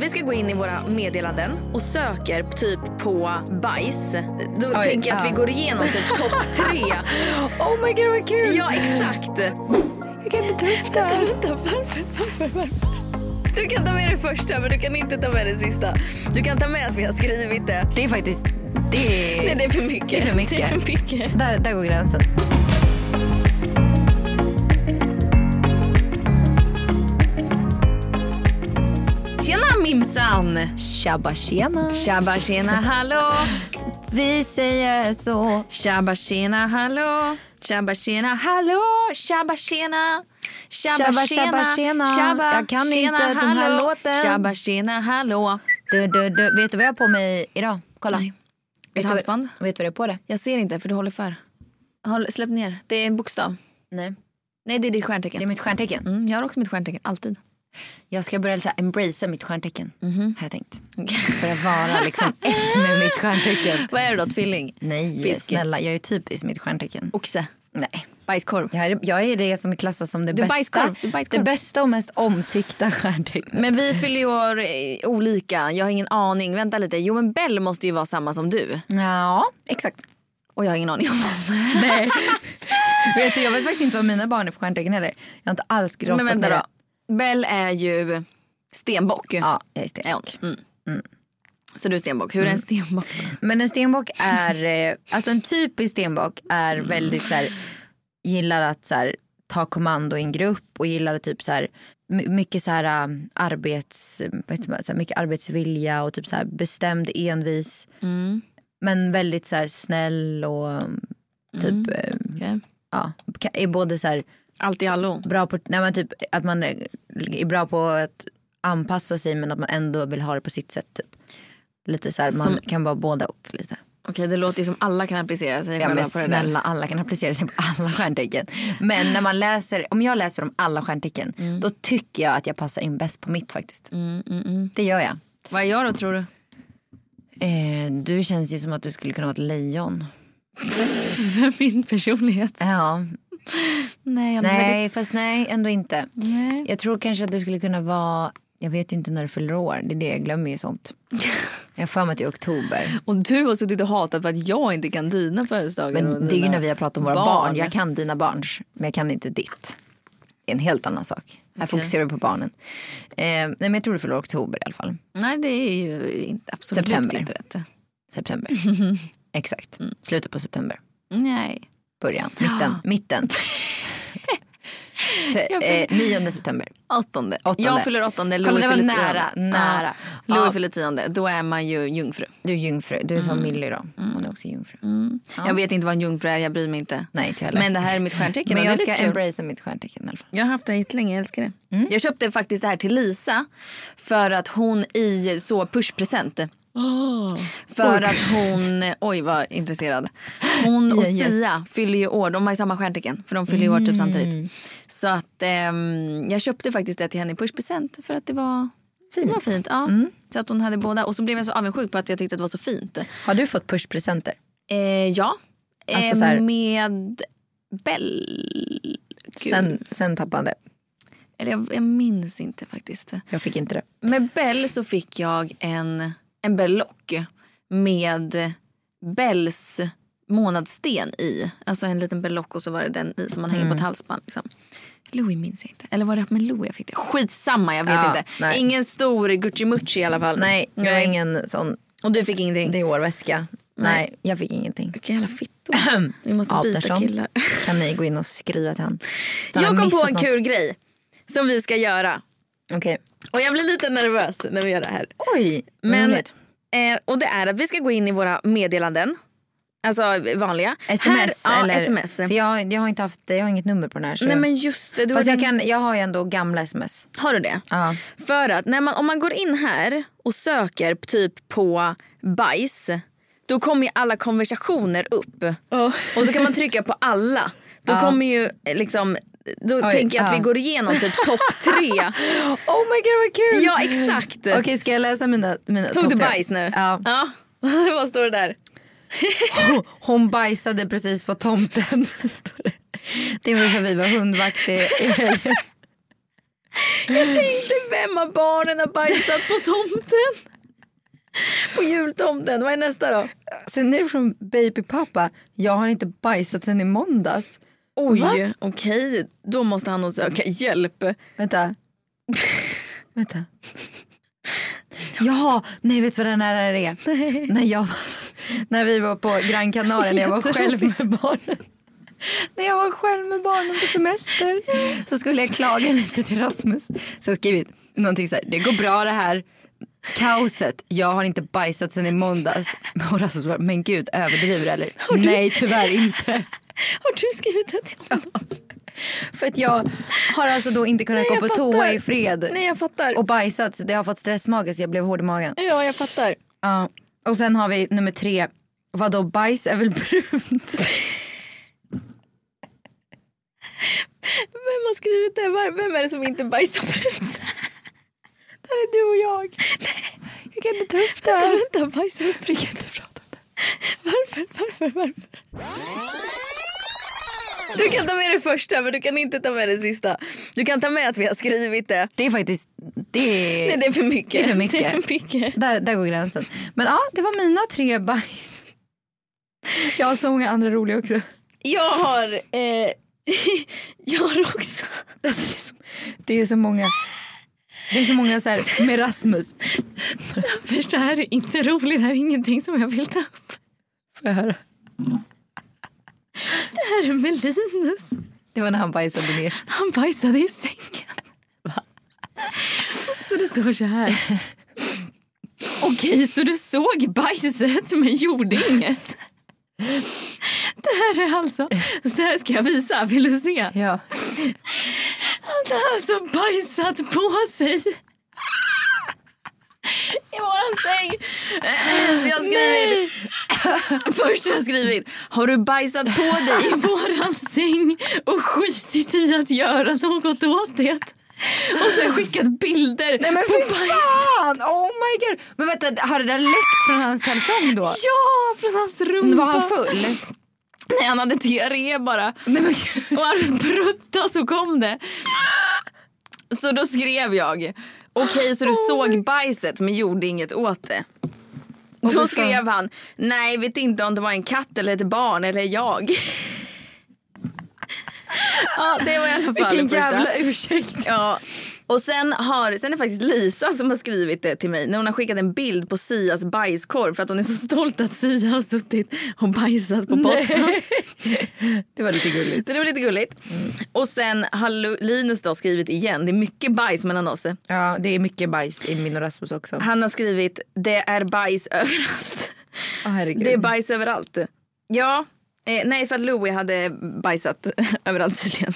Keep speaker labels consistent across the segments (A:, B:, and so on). A: Vi ska gå in i våra meddelanden och söker typ på bajs. Då tänker jag att vi går igenom typ topp tre.
B: Oh my god vad kul!
A: ja exakt.
B: Jag kan inte
A: Vänta,
B: ta upp det här.
A: vänta, varför, varför, varför? Du kan ta med det första men du kan inte ta med det sista. Du kan ta med att vi har skrivit det.
B: Det är faktiskt... Det är...
A: Nej det är för mycket.
B: Det är för mycket.
A: Det är för mycket.
B: Där, där går gränsen.
A: Tjena Mimsan!
B: Tjabba tjena.
A: Tjabba tjena hallå.
B: Vi säger så.
A: Tjabba tjena hallå. Tjabba tjena hallå. Tjabba tjena.
B: Tjabba, tjabba, tjena.
A: Tjabba,
B: Jag kan
A: tjena,
B: inte den här
A: hallå.
B: låten.
A: Tjabba tjena hallå.
B: Du, du, du. Vet du vad jag har på mig idag? Kolla.
A: Nej.
B: Vet
A: Ett
B: du-
A: halsband?
B: Vet du vad det är på det?
A: Jag ser inte för du håller för. Håll, släpp ner. Det är en bokstav.
B: Nej.
A: Nej det är ditt
B: Det är
A: stjärntecken.
B: mitt stjärntecken.
A: Mm, jag har också mitt stjärntecken, alltid.
B: Jag ska börja så här, embracea mitt stjärntecken.
A: Mhm.
B: Har jag tänkt. Börja vara liksom ett med mitt stjärntecken.
A: Vad är det då? Tvilling?
B: Nej
A: Fisk.
B: snälla, jag är ju typisk mitt stjärntecken.
A: Oxe?
B: Nej.
A: Bajskorv?
B: Jag är, jag är det som klassas som det
A: Du är
B: bästa.
A: bajskorv. Du är bajskorv.
B: Det bästa och mest omtyckta stjärntecknet.
A: Men vi fyller ju år eh, olika. Jag har ingen aning. Vänta lite. Jo men Bell måste ju vara samma som du.
B: Ja, exakt.
A: Och jag har ingen aning om henne.
B: Nej. vet du, jag vet faktiskt inte vad mina barn är för stjärntecken heller. Jag har inte alls grottat
A: Men
B: ner
A: vänta
B: det.
A: då. Bell är ju stenbock.
B: Ja, jag är
A: Är hon?
B: stenbock.
A: Mm. Så du är stenbock. Hur är en stenbock?
B: Men en stenbock är, eh, alltså en typisk stenbock är väldigt så här, gillar att så här, ta kommando i en grupp och gillar att typ så här, my- mycket så här um, arbets, vad heter man, så här, mycket arbetsvilja och typ så här bestämd, envis. Men väldigt så här snäll och um, typ, eh,
A: Okej.
B: ja, ka- är både så här
A: Allt i allo.
B: bra på, nej men typ att man är är bra på att anpassa sig men att man ändå vill ha det på sitt sätt typ. Lite så här, man
A: Som-
B: kan vara både och lite.
A: Okej, det låter ju som alla kan applicera sig
B: Ja
A: själva
B: men
A: på det där.
B: snälla alla kan applicera sig på alla stjärntecken. Men när man läser, om jag läser om alla stjärntecken då tycker jag att jag passar in bäst på mitt faktiskt. Det gör jag.
A: Vad är jag då tror du?
B: Eh, du känns ju som att du skulle kunna vara ett lejon.
A: Min personlighet?
B: Ja,
A: Nej, jag
B: nej
A: nej.
B: fast nej ändå inte.
A: nej.
B: Jag tror kanske att du skulle kunna vara, jag vet ju inte när du fyller år, det är det jag glömmer ju sånt. Jag har för mig att det är oktober.
A: Och du har suttit och hatat för att jag inte kan dina födelsedagar. och
B: Men det är ju
A: dina
B: när vi har pratat om våra barn. Jag kan dina barns, men jag kan inte ditt. Det är en helt annan sak. Här fokuserar vi på barnen. Eh, nej men jag tror du fyller oktober i alla fall.
A: Nej, det är ju inte, absolut
B: September.
A: inte rätt.
B: September. Exakt. Slutet på september.
A: Nej.
B: Början. Mitten. Mitten. För, eh, 9 september.
A: Åttonde.
B: Åttonde.
A: Jag fyller åttonde,
B: Kolla,
A: Louie
B: det var
A: fyller tionde.
B: nära, nära.
A: Ja. Louie
B: Ja.
A: fyller tionde, då är man ju jungfru.
B: Du är jungfru. Du
A: Mm.
B: är som Millie då. Hon är också jungfru.
A: Jag vet inte vad en jungfru är, jag bryr mig inte.
B: Nej inte jag heller.
A: Mm. Men det här är mitt stjärntecken
B: Men
A: och
B: jag
A: det är
B: ska
A: lite kul.
B: embracea mitt stjärntecken i alla fall.
A: Jag har haft det länge, jag älskar det. Jag köpte faktiskt det här till Lisa för att hon i så pushpresent. För att hon, oj vad intresserad. Hon och
B: Yes, yes.
A: Sia fyller ju år, de har ju samma stjärntecken för de fyller ju år typ samtidigt. Så att ehm, jag köpte faktiskt det till henne i pushpresent för att det var fint. Mm. Det var fint ja. Så att hon hade båda och så blev jag så avundsjuk på att jag tyckte att det var så fint.
B: Har du fått pushpresenter?
A: Eh, ja,
B: Alltså
A: eh,
B: så här-
A: med Bell. Gud.
B: Sen, sen tappade han det.
A: Eller jag, jag minns inte faktiskt.
B: Jag fick inte det.
A: Med Bell så fick jag en, en bellock med Bells månadssten i. Alltså en liten bellock och så var det den i som man hänger
B: Mm.
A: på ett halsband. Liksom. Louis minns jag inte. Eller var det med Louis jag fick det? Skitsamma, jag vet
B: Ja,
A: inte.
B: nej.
A: Ingen stor Gucci-mucci i alla fall.
B: Nej, jag har ingen sån
A: Och du fick ingenting?
B: Dior-väska. Nej, jag fick ingenting.
A: Vilka jävla fittor. Vi måste byta
B: Andersson.
A: killar.
B: Kan ni gå in och skriva till han? Han har
A: Jag kom på
B: missat
A: en
B: något.
A: kul grej som vi ska göra.
B: Okej.
A: Och jag blir lite nervös när vi gör det här.
B: Oj,
A: Men,
B: men
A: eh, och det är att vi ska gå in i våra meddelanden. Alltså vanliga.
B: sms
A: här,
B: eller?
A: Ja, sms.
B: För jag, jag har inte haft, jag har inget nummer på den här. Så
A: Nej
B: jag,
A: men just det. Du har,
B: fast jag,
A: din-
B: kan, jag har ju ändå gamla sms.
A: har du det?
B: Ja.
A: För att när man, om man går in här och söker typ på bajs. då kommer ju alla konversationer upp. Och så kan man trycka på alla. Då
B: Ja.
A: kommer ju eh, liksom, då tänker jag att
B: ja.
A: vi går igenom typ topp tre.
B: Oh my god vad kul!
A: Ja exakt.
B: Okej ska jag läsa mina, mina
A: Tog
B: topp
A: du
B: tre?
A: bajs nu?
B: Ja.
A: ja. Vad står det där?
B: Hon bajsade precis på tomten. står det. Det var för vi var hundvakt i
A: Tänkte vem av barnen har bajsat på tomten? På jultomten. Vad är nästa då?
B: Sen är det från babypappa. Jag har inte bajsat sen i måndags.
A: Oj,
B: Va?
A: okej. Då måste han nog söka hjälp.
B: Vänta. Vänta. Ja, nej vet du vad den här är? När, jag, när vi var på Gran Canaria när jag var själv med barnen. När jag var själv med barnen på semester så skulle jag klaga lite till Rasmus. Så jag skrev någonting så här, det går bra det här. Kaoset, jag har inte bajsat sen i måndags. Och Rasmus bara, men gud överdriver du eller? Nej tyvärr inte.
A: Har du skrivit det till honom?
B: För att jag har alltså då inte kunnat
A: Nej,
B: gå
A: jag
B: på toa
A: fattar.
B: i fred.
A: Nej, jag fattar.
B: och bajsat. så Det har fått stressmage så jag blev hård i magen.
A: Ja, jag fattar.
B: Ja. Och sen har vi nummer tre. Vadå bajs är väl brunt?
A: Vem har skrivit det? Var- Vem är det som inte bajsar brunt?
B: det är du och jag. Jag kan inte ta upp det
A: Vänta,
B: här.
A: vänta. Bajs och upprigg inte prata om det. Varför, varför, varför? Du kan ta med det första men du kan inte ta med det sista. Du kan ta med att vi har skrivit det.
B: Det är faktiskt, det är,
A: Nej det är för mycket.
B: Det är för mycket.
A: Det är för mycket.
B: Där, där går gränsen. Men ja, det var mina tre bajs. Jag har så många andra roliga också.
A: Jag har... Eh, jag har också...
B: Alltså, det, är så, det är så många. Det är så många så här med Rasmus.
A: Först det här är inte roligt, det här är ingenting som jag vill ta upp.
B: Får jag höra?
A: Det här är med Linus.
B: Det var när han bajsade ner sig.
A: Han bajsade i sängen. Så det står så här. Okej, så du såg bajset men gjorde inget. Det här är alltså... Det här ska jag visa. Vill du se?
B: Ja.
A: Han har alltså bajsat på sig. I våran säng.
B: Alltså,
A: Så jag har skrivit. Först har jag skrivit. Har du bajsat på dig i våran säng och skitit i att göra något åt det? Och så har jag skickat bilder
B: Nej men
A: på
B: fy
A: bajs.
B: fan! Oh my god! Men vänta, har det där läckt från hans kalsong då?
A: Ja, från hans rumpa.
B: Var han full?
A: Nej, han hade diarré bara.
B: Nej men
A: Och han pruttade så kom det. Så då skrev jag. Okej, så du såg bajset men gjorde inget åt det. Då
B: fan.
A: skrev han. Nej, vet inte om det var en katt eller ett barn eller jag. ja, det var i alla fall det
B: vilken
A: första.
B: jävla ursäkt.
A: Ja. Och sen, har, sen är det faktiskt Lisa som har skrivit det till mig. När hon har skickat en bild på Sias bajskorv för att hon är så stolt att Sia har suttit och bajsat på botten.
B: Det var lite gulligt.
A: Så det var lite gulligt.
B: Mm.
A: Och sen har Lu- Linus då skrivit igen. Det är mycket bajs mellan oss.
B: Ja det är mycket bajs i min och Rasmus också.
A: Han har skrivit det är bajs överallt.
B: Åh herregud.
A: Det är bajs överallt. Ja. Eh, nej, för att Louie hade bajsat överallt tydligen.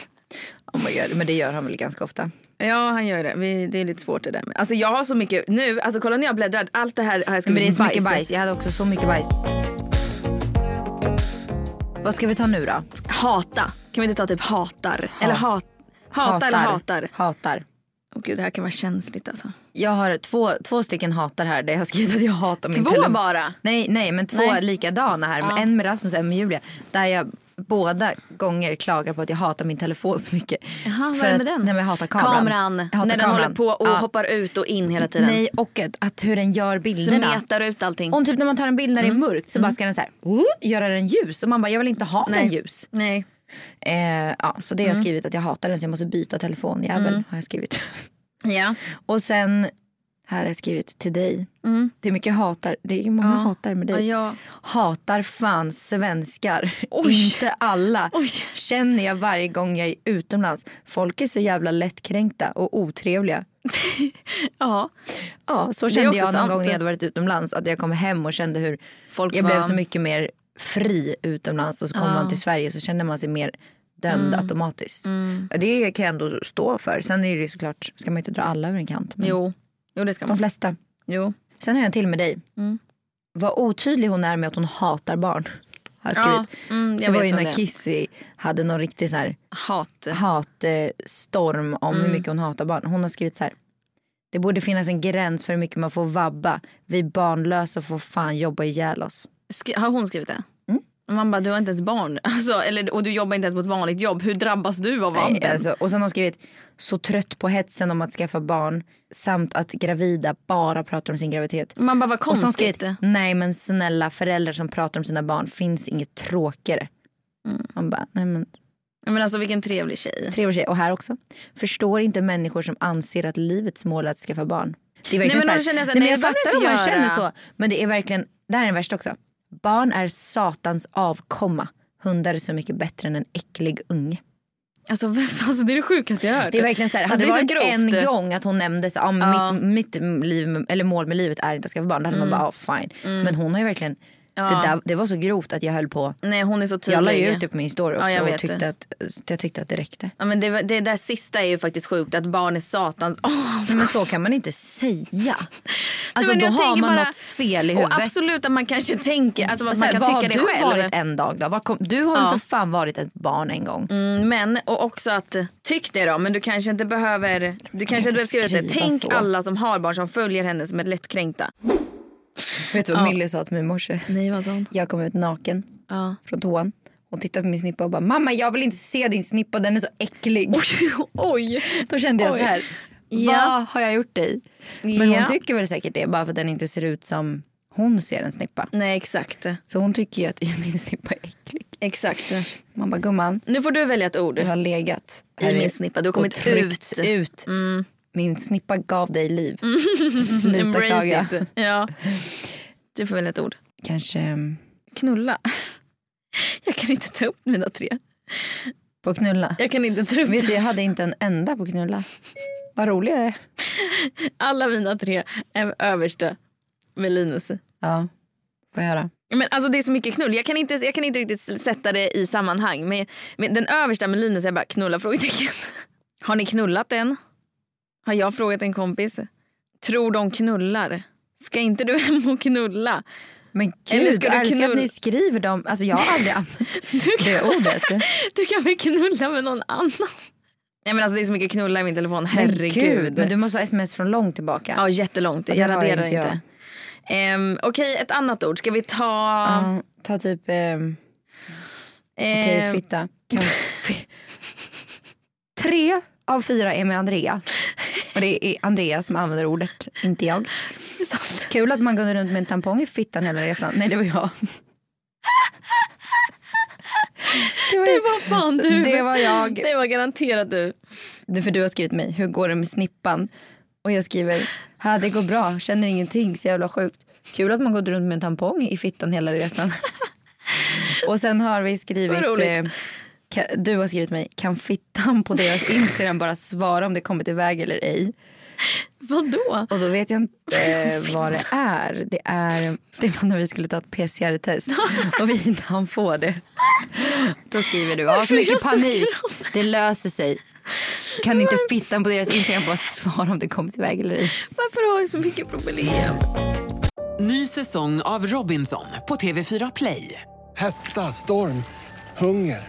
B: oh my god. Men det gör han väl ganska
A: Mm.
B: ofta.
A: Ja, han gör det. Vi, det är lite svårt det där. med- Alltså jag har så mycket nu. Alltså kolla när jag bläddrar. Allt det här har jag
B: Men
A: skrivit
B: det är så mycket bajs. Jag hade också så mycket bajs. Vad ska vi ta nu då?
A: Hata. Kan vi inte ta typ hatar? Eller hat. Hata eller hatar.
B: Hatar.
A: Åh gud, det här kan vara känsligt alltså.
B: Jag har två, två stycken hatar här där jag har skrivit att jag hatar min
A: Två
B: telefon.
A: bara?
B: Nej, nej men två
A: Nej.
B: likadana här.
A: Ja.
B: En med Rasmus och en med Julia. Där jag båda gånger klagar på att jag hatar min telefon så mycket.
A: Jaha, vad
B: För
A: är det
B: att-
A: med den?
B: Nej, men jag hatar kameran. Jag hatar
A: när den
B: kameran.
A: håller på och
B: Ja.
A: hoppar ut och in hela tiden.
B: Nej, och att, att hur den gör bilderna.
A: Smetar ut allting.
B: Om typ när man tar en bild när
A: Mm.
B: det är mörkt så bara ska den så här, "Whoop", göra den ljus. Och man bara, jag vill inte ha
A: Nej. Mm.
B: den ljus.
A: Nej.
B: Eh, ja, så det har jag skrivit att jag hatar den så jag måste byta telefonjävel.
A: Mm.
B: Har jag skrivit.
A: Ja.
B: Och sen, här har jag skrivit till dig. Det är mycket hatar, det är många hatar med dig.
A: Mm. Ja, ja.
B: Hatar fan svenskar.
A: Oj.
B: Inte alla.
A: Oj.
B: Känner jag varje gång jag är utomlands. Folk är så jävla lättkränkta och otrevliga.
A: ja.
B: Ja, så
A: är
B: kände
A: också
B: jag någon
A: sant.
B: gång när jag hade varit utomlands. Att jag kom hem och kände hur
A: Folk
B: jag
A: var-
B: blev så mycket mer fri utomlands. Och så kom man till Sverige och så kände man sig mer dömd
A: Mm.
B: automatiskt. Det kan jag ändå stå för. Sen är det ju såklart, ska man inte dra alla över en kant. Men
A: Jo. Jo, det ska
B: De
A: man.
B: flesta.
A: Jo. Mm.
B: Sen har jag en till med dig. vad otydlig hon är med att hon hatar barn. Har jag
A: Ja,
B: skrivit.
A: mm, jag
B: det var
A: vet
B: ju
A: vem
B: när
A: det är.
B: Kissy hade någon riktig så här
A: Hat.
B: hatstorm om hur mycket hon hatar barn. Hon har skrivit så här. Det borde finnas en gräns för hur mycket man får vabba. Vi barnlösa får fan jobba ihjäl oss.
A: Skri- har hon skrivit det?
B: Mm.
A: Man bara, du har inte ens barn alltså, eller, och du jobbar inte ens på ett vanligt jobb. Hur drabbas du av
B: Nej,
A: vabben?
B: alltså, och sen har hon skrivit så trött på hetsen om att skaffa barn samt att gravida bara pratar om sin graviditet.
A: Man bara, vad
B: Och så har hon
A: konstigt.
B: skrivit, nej men snälla föräldrar som pratar om sina barn finns inget tråkigare. Man bara, nej men
A: Men alltså vilken trevlig tjej.
B: tre år tjej. Och här också. Förstår inte människor som anser att livets mål är att skaffa barn. Det är verkligen
A: men
B: så här-
A: då känner jag så här, nej,
B: nej, men jag
A: det behöver
B: fattar om
A: du
B: man
A: inte
B: känner
A: göra.
B: så. Men det är verkligen, det här är den värsta också. Barn är satans avkomma. Hundar är så mycket bättre än en äcklig unge.
A: Alltså, vem- alltså det är det sjukaste jag har hört.
B: Det är verkligen så här, hade
A: Alltså,
B: det,
A: det är
B: varit
A: så grovt.
B: en gång att hon nämnde så, ah,
A: Ja. Mm.
B: mitt, mitt liv, eller mål med livet är inte att skaffa barn, då hade man bara ah, fine. Men hon har ju verkligen, det, där, det var så grovt att jag höll på.
A: Nej hon är så tydlig.
B: Jag la ju ut det på min story också
A: Mm. Ja, jag
B: och
A: vet
B: tyckte
A: det.
B: att, jag tyckte att det räckte.
A: Ja, men det, det där sista är ju faktiskt sjukt, att barn är satans avkomma.
B: Men så kan man inte säga. Alltså
A: Nej, men
B: då
A: jag
B: har
A: tänker
B: man
A: bara-
B: något fel i huvudet.
A: Och absolut att man kanske tänker, alltså
B: Och
A: vad
B: så
A: man
B: här,
A: kan
B: vad har
A: tycka det
B: du
A: själv.
B: varit en dag då? Vad kom, du har
A: Ja.
B: ju för fan varit ett barn en gång.
A: Mm, Men och också att eh, tyck det då men du kanske inte behöver du kanske inte
B: inte
A: behöver skriva ut det.
B: skriva
A: Tänk
B: så.
A: alla som har barn som följer henne som är lättkränkta.
B: Vet du vad Millie sa till mig i morse?
A: Nej vad sånt.
B: Jag kom ut naken
A: Ja.
B: från toan. Hon tittade på min snippa och bara mamma jag vill inte se din snippa den är så äcklig.
A: Oj.
B: Då kände jag
A: Oj.
B: så här.
A: Ja.
B: Vad har jag gjort dig? Men
A: Ja.
B: hon tycker väl säkert det bara för att den inte ser ut som hon ser en snippa.
A: Nej exakt.
B: Så hon tycker ju att min snippa är äcklig.
A: Exakt.
B: Man bara gumman
A: Nu får du välja ett ord.
B: du har legat
A: I min snippa. Du har
B: och
A: kommit
B: tryckts
A: ut.
B: ut.
A: Mm,
B: Min snippa gav dig liv. Sluta klaga.
A: it. Ja. Du får välja ett ord.
B: Kanske mm,
A: Knulla. Jag kan inte ta upp mina tre.
B: på knulla.
A: Jag kan inte ta upp
B: Vet du, jag hade inte en enda på knulla. Vad rolig jag är.
A: alla mina tre är översta med Linus.
B: Ja, får jag höra.
A: Men alltså det är så mycket knull. Jag kan inte, jag kan inte riktigt sätta det i sammanhang. Men, men den översta med Linus är bara knulla? frågetecken. Har ni knullat än? Har jag frågat en kompis? Tror de knullar? Ska inte du hem och knulla?
B: Men gud,
A: Eller ska du
B: jag älskar
A: knull-
B: att ni skriver dem. Alltså jag har aldrig använt
A: Du kan,
B: det ordet.
A: du kan väl knulla med någon annan? Nej men alltså det är så mycket knulla i min telefon. Herregud.
B: Men, gud, men du måste ha sms från långt tillbaka.
A: Ja jättelångt.
B: det
A: Jag
B: har
A: raderar
B: inte jag.
A: inte. Um, Okej ett annat ord. Ska vi ta...
B: Ja, ta typ, ehm, okej
A: ehm,
B: fitta. Kan- fi- Tre av fyra är med Andrea. Och det är Andrea som använder ordet, inte jag. Kul att man går runt med en tampong i fittan hela resan. Nej det var jag. Det var,
A: Det var fan du.
B: Det var jag.
A: Det var garanterat du.
B: Det är för du har skrivit mig, hur går det med snippan? Och jag skriver, här det går bra, känner ingenting, så jävla sjukt. Kul att man går runt med en tampong i fittan hela resan. och sen har vi skrivit,
A: Vad roligt.
B: eh, ka- du har skrivit mig, kan fittan på deras Instagram bara svara om det kommit iväg eller ej?
A: Vadå?
B: Och då vet jag inte eh, vad det är. Det, är. det var när vi skulle ta ett PCR-test och vi inte hann få det. Då skriver du, jag har så
A: är jag
B: mycket
A: så
B: panik. Det löser sig. Kan inte fittan på deras Instagram bara svara om det kommit iväg eller ej?
A: Varför har jag så mycket problem?
C: Ny säsong av Robinson på TV4 Play.
D: Hetta, storm, hunger.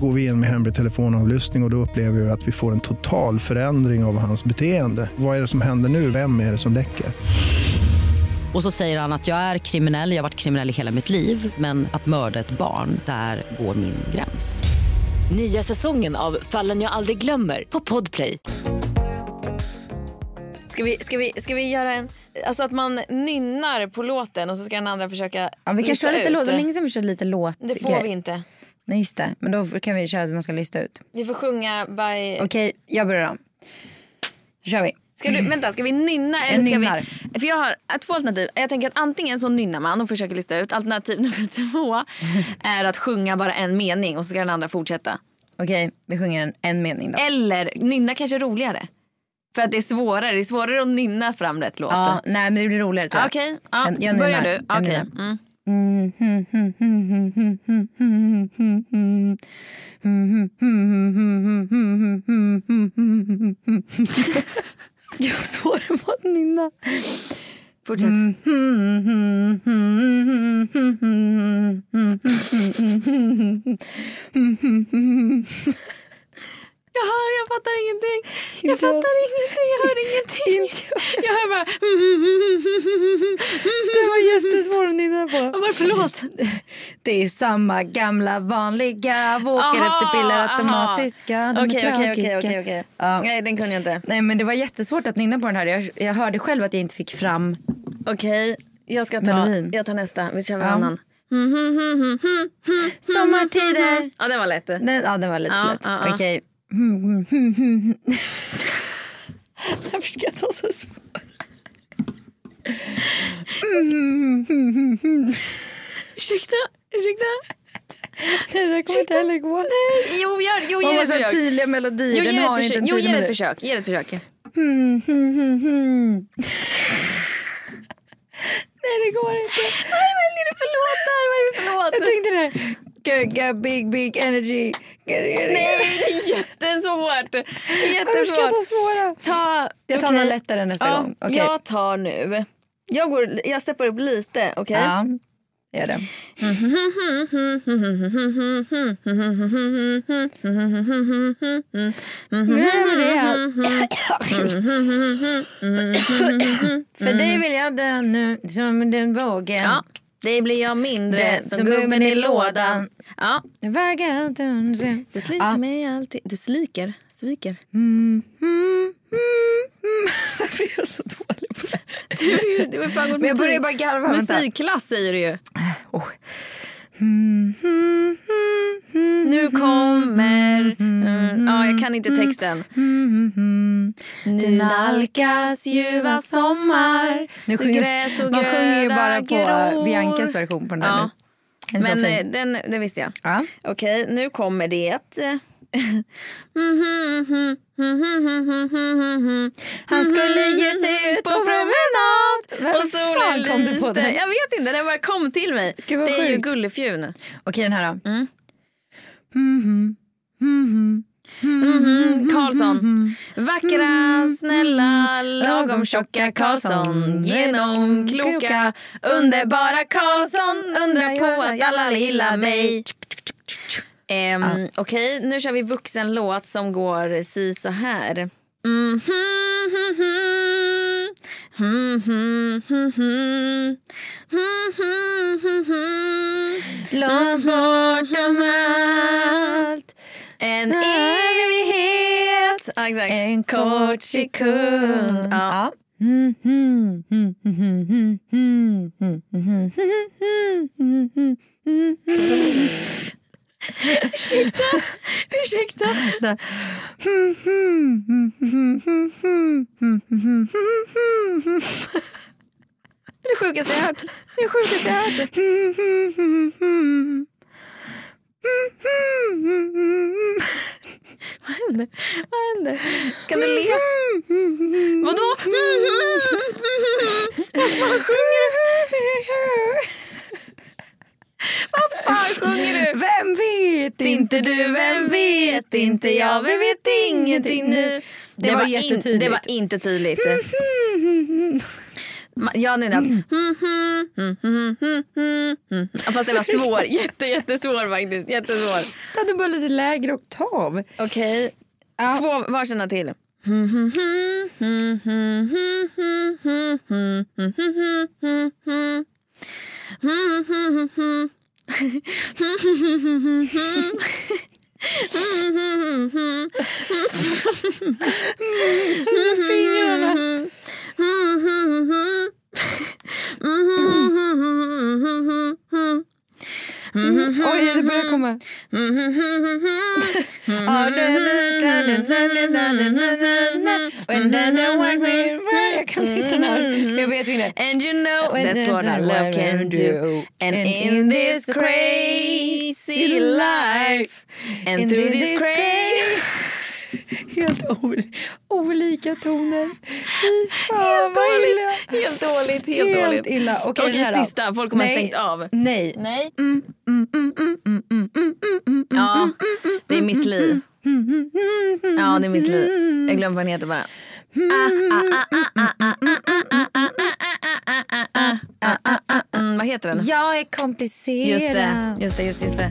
E: går vi in med hemlig telefonavlyssning och, och då upplever vi att vi får en total förändring av hans beteende. Vad är det som händer nu? Vem är det som läcker?
F: Och så säger han att jag är kriminell, jag har varit kriminell i hela mitt liv men att mörda ett barn, där går min gräns.
G: Nya säsongen av Fallen jag aldrig glömmer på Podplay.
A: Ska vi, ska, vi, ska vi göra en... Alltså att man nynnar på låten och så ska den andra försöka
B: Ja, vi kan
A: lista
B: köra lite
A: ut
B: låt, det
A: det.
B: var länge sedan vi körde lite låt.
A: Det får
B: grej.
A: vi inte.
B: Nej just det, men då kan vi köra hur man ska lista ut.
A: Vi får sjunga by...
B: Okej, jag börjar då. Då kör vi.
A: Ska, du, vänta, ska vi nynna eller
B: Jag
A: ska
B: nynnar.
A: vi... För jag har eh, två alternativ. Jag tänker att antingen så nynnar man och försöker lista ut. Alternativ nummer två är att sjunga bara en mening och så ska den andra fortsätta.
B: Okej, vi sjunger en, en mening då.
A: Eller nynna kanske är roligare. För att det är svårare. Det är svårare att nynna fram rätt låt.
B: Ja, nej men det blir roligare tror jag.
A: Okej, ja,
B: Jag- jag
A: börjar
B: nynnar.
A: du.
B: Jag
A: Okej.
B: nynnar.
A: Mm. Mm.
B: Jag har svårare med att Mm. nynna.
A: Fortsätt. Jag hör, jag fattar ingenting. Jag fattar ingenting, jag hör ingenting. Jag hör bara...
B: Det var jättesvårt att nynna på.
A: Varför förlåt?
B: Det är samma gamla vanliga. Våkar
A: Aha,
B: efter piller
A: aha.
B: automatiska. De är
A: Okej, okej, okej,
B: tragiska.
A: okej, okej.
B: Ja.
A: Nej, den kunde jag inte.
B: Nej men det var jättesvårt att nynna på den här. Jag, jag hörde själv att jag inte fick fram.
A: Okej, jag ska ta...
B: Melodin.
A: Jag tar nästa. Vi kör
B: Ja. Mm,
A: varannan.
B: Sommartider.
A: Ja, den var lätt. Nej,
B: Nej, ja den var lite
A: Ja,
B: för lätt.
A: ja, ja.
B: Okej. Varför ska jag ta så svårt?
A: ursäkta, ursäkta.
B: Det här kommer inte heller gå.
A: Jo, gör, jo, ge
B: Hon
A: det
B: har
A: ett
B: så här
A: försök.
B: tydliga melodier.
A: Jo,
B: den
A: ge det ett
B: har
A: försök.
B: inte en
A: Jo,
B: tydlig
A: ge det ett
B: melodi.
A: försök. Ge det ett försök.
B: Nej det går inte.
A: Nej, vad är det för låt där? Vad är det för låt?
B: Jag tänkte det. här. Got, got big big energy.
A: Nej, det är jättesvårt. Det är
B: Varför ska jag ta
A: jättesvårt.
B: svåra?
A: Ta,
B: Jag tar
A: okej.
B: någon lättare nästa
A: ja,
B: gång. Okej.
A: Jag tar nu. Jag, går, jag steppar upp lite, okej?
B: Ja, gör det. För dig vill jag dö nu som den vågen.
A: Ja, Det blir jag mindre
B: Det- som gubben i lådan.
A: Ja,
B: Jag vägrar inte undra.
A: du sliker
B: Ja.
A: mig alltid. Du sliker? Sviker?
B: Mm, Varför är mm. jag så dålig på det?
A: Du, är ju- du har fan gått
B: Men jag börjar
A: musik-
B: bara garva. Vänta.
A: Musikklass säger du ju.
B: Oh. Mm,
A: Nu kommer... Mm, ja, jag kan inte texten.
B: Mm-hmm.
A: Nu nalkas ljuva sommar
B: Nu sjunger,
A: gräs och
B: man sjunger ju
A: gröda
B: bara på
A: gror.
B: Biancas version på den där
A: Ja.
B: nu. Den är
A: Men
B: så
A: eh,
B: fin.
A: den, den visste jag.
B: Ja.
A: Okej, nu kommer det. Mm-hmm.
B: Han skulle ge sig ut på promenad.
A: Och solen
B: fan kom du på
A: lyste.
B: den?
A: Jag vet inte, den bara kom till mig.
B: Gud, vad
A: det är ju
B: sjukt. Mm-hmm.
A: Gullefjun.
B: Okej den här då.
A: Mm, Karlsson.
B: Mm-hmm.
A: Vackra, snälla, lagom tjocka Karlsson. Genom kloka, underbara Karlsson. Undrar på att alla gillar mig. Ehm, Okej, nu kör vi vuxenlåt som går si så här. Mhm, mhm, mhm, mhm, mhm, mhm, mhm. Långt bortom allt En evighet ja, exakt.
B: En kort sekund.
A: Ja.
B: Ja.
A: Ursäkta. Det är det sjukaste jag hört. Det är det sjukaste jag hört. Vad händer? Vad händer? Kan du le? Vadå? Vad fan sjunger du? Vad fan sjunger du?
B: Vem vet
A: inte du, vem vet inte jag, vem vet ingenting nu
B: Det var jättetydligt. Mm-hmm.
A: det var inte tydligt. Ma- Jag har nynnat.
B: Mm.
A: Ja, Mm-hmm. Fast det var svår. Jätte, jättesvår faktiskt. Jättesvår.
B: Det hade bara lite lägre oktav.
A: Okej. Två varsina till.
B: Mm-hmm. Mm-hmm. Oj, det börjar komma. Mm-hmm. Och another one way
A: And you know that's what our love can do. And in this crazy life. And through this crazy...
B: Helt ol- olika toner. Fy fan
A: Helt
B: vad
A: dåligt,
B: illa.
A: helt dåligt, helt,
B: Helt
A: dåligt.
B: illa. Okej,
A: Okej,
B: den här då.
A: sista. Folk kommer ha
B: Nej.
A: stängt av.
B: Nej.
A: Nej. Ja, det är Miss Li. Ja, det är Miss Li. Jag glömmer vad den heter bara. Mm, vad heter den?
B: Jag är komplicerad.
A: Just det, just det, just det. Just det.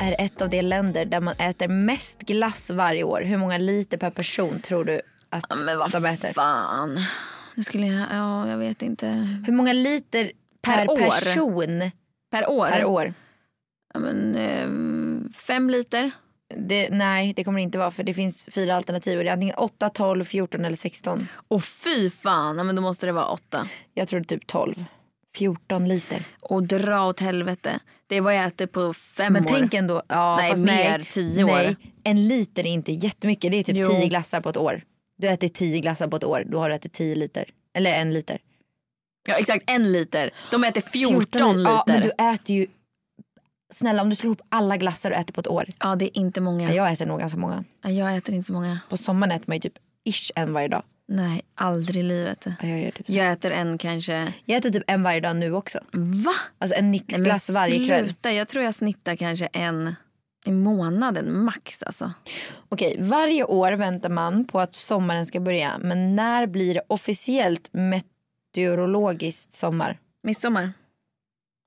B: är ett av de länder där man äter mest glass varje år. Hur många liter per person tror du att
A: Ja, Men
B: de
A: vad
B: äter?
A: fan. Nu skulle jag, ja jag vet inte.
B: Hur många liter per,
A: Per år?
B: person
A: Per år?
B: per år?
A: Ja, men, eh, fem liter.
B: Det, nej, det kommer det inte vara för det finns fyra alternativ. och Det är antingen 8, 12, 14 eller 16.
A: Och fy fan, ja, men då måste det vara åtta.
B: Jag tror typ 12. 14 liter.
A: Och dra åt helvete. Det är vad jag äter på fem
B: Men
A: år.
B: tänk ändå. Ja,
A: Nej,
B: fast
A: mer, tio år.
B: Nej, en liter är inte jättemycket. Det är typ
A: Jo.
B: 10 glassar på ett år. Du äter 10 glassar på ett år. Då har du ätit 10 liter. Eller en liter.
A: Ja, exakt, en liter. De äter 14,
B: li-
A: liter.
B: Ja, men du äter ju... Snälla, om du slår ihop alla glassar du äter på ett år.
A: Ja, det är inte många.
B: Ja. Jag äter nog ganska många.
A: Ja, Jag äter inte så många.
B: På sommaren äter man ju typ ish en varje dag.
A: Nej, aldrig i livet.
B: Ja, jag, gör typ. så.
A: Jag äter en kanske...
B: jag äter typ en varje dag nu också.
A: Va?
B: Alltså en
A: Nej, men
B: Nixglass varje kväll.
A: Sluta. Jag tror jag snittar kanske en i månaden max. Alltså.
B: Okej, varje år väntar man på att sommaren ska börja. Men när blir det officiellt meteorologiskt sommar?
A: Midsommar?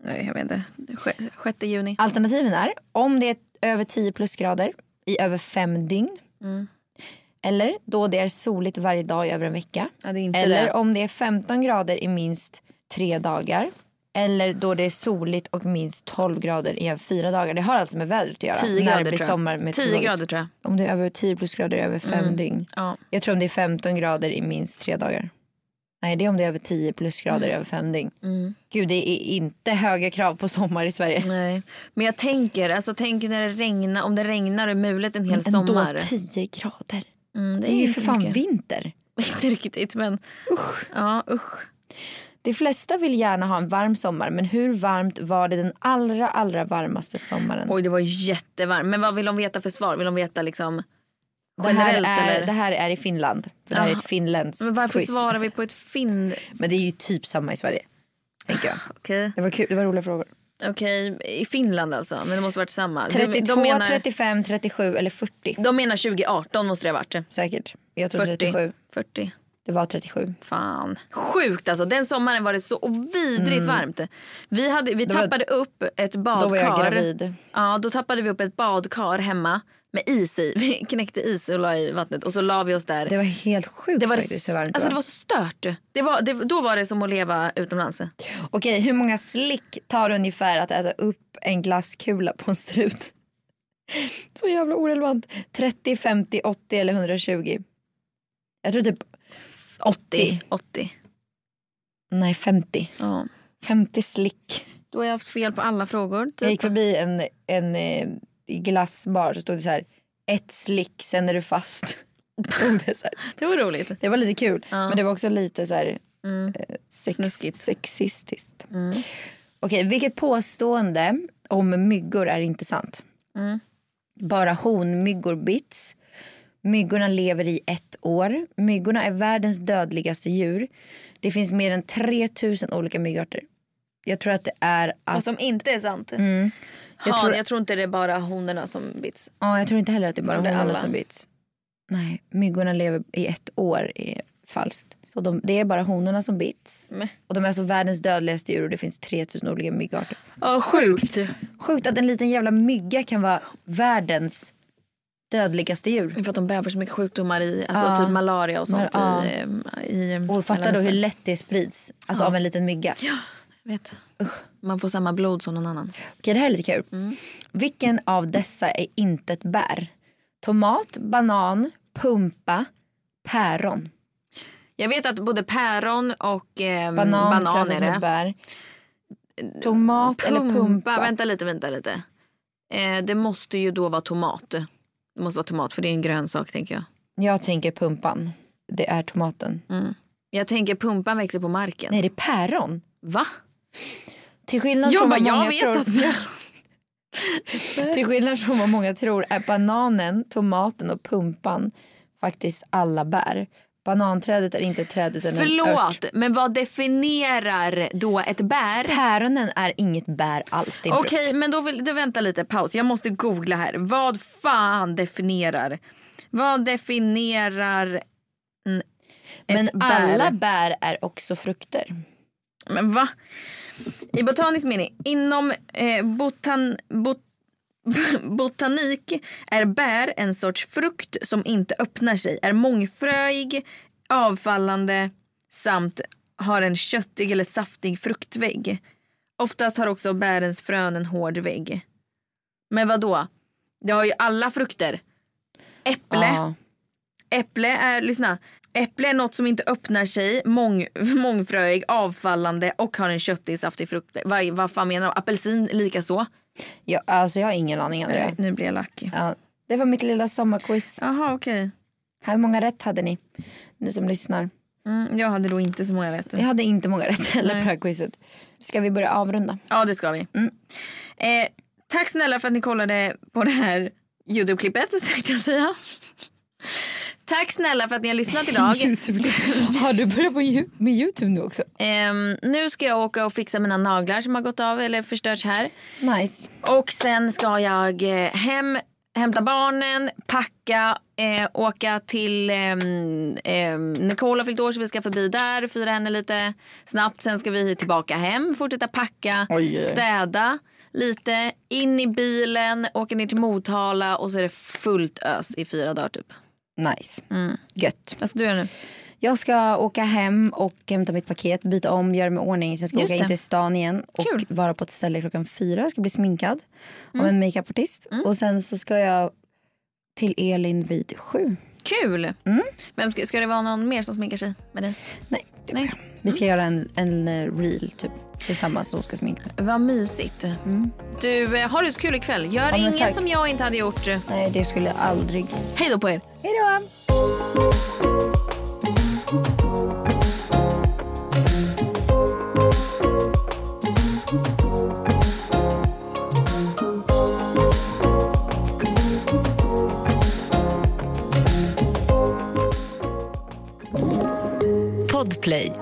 A: Nej, jag vet inte. Sj- sjätte juni.
B: Alternativen är om det är över 10 plusgrader i över fem dygn.
A: Mm.
B: Eller då det är soligt varje dag i över en vecka.
A: Ja, det är inte
B: Eller
A: det.
B: om det är 15 grader i minst tre dagar. Eller då det är soligt och minst 12 grader i över fyra dagar. Det har alltså med vädret att göra.
A: 10
B: när
A: grader,
B: det blir
A: tror
B: sommar
A: jag.
B: med
A: 10 grader tror jag.
B: Om det är över 10 plusgrader i över fem dygn.
A: Mm. Ja.
B: Jag tror om det är 15 grader i minst tre dagar. Nej, det är om det är över 10 plusgrader
A: Mm.
B: i över fem dygn. Gud, det är inte höga krav på sommar i Sverige.
A: Nej. Men jag tänker, alltså, tänk när det regnar, om det regnar och är mulet en hel
B: Men ändå
A: sommar.
B: 10 grader.
A: Mm,
B: Det är ju
A: inte
B: för fan
A: mycket.
B: vinter.
A: Inte riktigt men usch. Ja, usch.
B: De flesta vill gärna ha en varm sommar, men hur varmt var det den allra, allra varmaste sommaren?
A: Oj det var jättevarmt. Men vad vill de veta för svar? Vill de veta liksom
B: det, här
A: generellt
B: är,
A: eller? Ah.
B: det här är i Finland. För det här är ett finländskt
A: men varför
B: quiz.
A: svarar vi på ett finn...
B: Men det är ju typ samma i Sverige. Tänker jag.
A: Okej,
B: Det var kul, det var roliga frågor.
A: okej. i Finland alltså. Men det måste varit samma. De-
B: 32,
A: de, menar,
B: 35, 37 eller 40.
A: de menar 2018 måste det ha varit.
B: Säkert. Jag tror
A: 40.
B: 37.
A: 40.
B: Det var 37.
A: Fan. Sjukt alltså. Den sommaren var det så vidrigt varmt. Vi, hade, vi
B: Mm. Då var-
A: tappade upp ett badkar.
B: Då var jag gravid.
A: Ja, då tappade vi upp ett badkar hemma med is i. Vi knäckte is och la i vattnet och så la vi oss där.
B: Det var helt sjukt
A: Det var,
B: faktiskt hur varmt
A: alltså
B: det
A: det var
B: var.
A: så stört. Det var, det, då var det som att leva utomlands.
B: Okej, hur många slick tar det ungefär att äta upp en glasskula på en strut? Så jävla orelevant. 30, 50, 80 eller 120? Jag tror typ...
A: 80. 80.
B: Nej, 50.
A: Ja.
B: 50 slick.
A: Då har jag haft fel på alla frågor. Typ.
B: Jag gick förbi en, en eh, glassbar så stod det så här ett slick sen är du fast. Och det, så här,
A: Det var roligt.
B: det var lite kul
A: Ja.
B: men det var också lite så här
A: Mm.
B: eh,
A: Snuskigt. Mm.
B: sex, sexistiskt. Okej, vilket påstående om myggor är inte sant?
A: Mm.
B: Bara honmyggor bits. Myggorna lever i ett år. Myggorna är världens dödligaste djur. Det finns mer än 3000 olika myggarter. Jag tror att det är
A: Vad
B: att...
A: som inte är sant.
B: Mm. Jag
A: Jag,
B: tror-
A: tror... jag tror inte det är bara honorna som bits.
B: Ja, jag tror inte heller att det är bara
A: tror det är
B: honorna
A: alla.
B: som byts. Nej, myggorna lever i ett år är falskt. Så de, det är bara honorna som bits.
A: Mm.
B: Och de är alltså världens dödligaste djur och det finns 3000 olika myggarter.
A: Ja, sjukt.
B: Sjukt att en liten jävla mygga kan vara världens dödligaste djur.
A: För att de bär på så mycket sjukdomar i alltså
B: Ja.
A: typ malaria och sånt.
B: Ja.
A: I, ehm, i
B: Och fatta då hur
A: Mellanöstern.
B: lätt det sprids. Alltså av en liten mygga.
A: Jag vet. Man får samma blod som någon annan.
B: Okej, det här är lite kul.
A: Mm.
B: Vilken av dessa är inte ett bär? Tomat, banan, pumpa, päron.
A: Jag vet att både päron och eh,
B: Mm, Banan,
A: banan,
B: klassas
A: är
B: som
A: det.
B: ett bär. Tomat eller pumpa?
A: Vänta lite, vänta lite. Eh, det måste ju då vara tomat. Det måste vara tomat för det är en grönsak tänker jag.
B: Jag tänker pumpan. Det är tomaten.
A: Jag tänker pumpan växer på marken.
B: Nej, det är päron.
A: Va?
B: Till skillnad,
A: Jag
B: från
A: bara,
B: vad
A: jag
B: många
A: vet
B: tror,
A: att päron...
B: till skillnad från vad många tror är bananen, tomaten och pumpan faktiskt alla bär. Bananträdet är inte ett träd utan en ört.
A: Förlåt, men vad definierar då ett bär?
B: Päronen är inget bär alls. Det är en
A: Okej,
B: frukt.
A: men då vill du vänta lite paus. Jag måste googla här. Vad fan definierar? Vad definierar en-
B: Men
A: ett bär?
B: alla bär är också frukter.
A: Men va? I botanisk mening, inom eh, botan, bot, botanik är bär en sorts frukt som inte öppnar sig, är mångfröig, avfallande samt har en köttig eller saftig fruktvägg. Oftast har också bärens frön en hård vägg. Men vad då? Det har ju alla frukter. Äpple,
B: Ja.
A: Äpple är, lyssna. Äpple är något som inte öppnar sig, mång, mångfröig, avfallande och har en köttig, saftig frukt. Vad, vad fan menar de? Apelsin lika så.
B: Jag, alltså, jag har ingen aning Andrea.
A: Nu blir jag lack.
B: Ja, det var mitt lilla sommarquiz.
A: Jaha, okej.
B: Hur många rätt hade ni? Ni som lyssnar.
A: Mm, jag hade då inte så många rätt.
B: Jag hade inte många rätt heller på det här quizet. Ska vi börja avrunda?
A: Ja, det ska vi. Eh, tack snälla för att ni kollade på det här Youtube-klippet, tänkte jag säga. Tack snälla för att ni har lyssnat idag.
B: Har du börjat på, Ju- med Youtube nu också?
A: Ehm, nu ska jag åka och fixa mina naglar som har gått av eller förstörts här.
B: Nice.
A: Och sen ska jag eh, hem, hämta barnen, packa, eh, åka till ehm, ehm, Nicola fyllt år så vi ska förbi där, fira henne lite snabbt. Sen ska vi tillbaka hem, fortsätta packa, städa lite, in i bilen, åka ner till Motala och så är det fullt ös i fyra dagar typ.
B: Nice. Gött.
A: Vad ska du göra nu?
B: Jag ska åka hem och hämta mitt paket, byta om, göra mig i ordning. Sen ska jag
A: Just
B: åka in
A: det.
B: till stan igen och
A: Kul.
B: vara på ett ställe klockan fyra. Jag ska bli sminkad av en makeupartist. Och sen så ska jag till Elin vid sju.
A: Kul! Vem ska, ska det vara någon mer som sminkar sig med dig?
B: Nej, det
A: Nej.
B: Nej. Mm. Vi ska göra en, en eh, reel typ tillsammans som ska sminka.
A: Vad mysigt. Du, eh, har du så kul ikväll. Gör
B: men
A: inget
B: tack.
A: som jag inte hade gjort.
B: Nej, det skulle jag aldrig.
A: Hej då på er!
B: Hej då!
G: Podplay.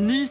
C: Ny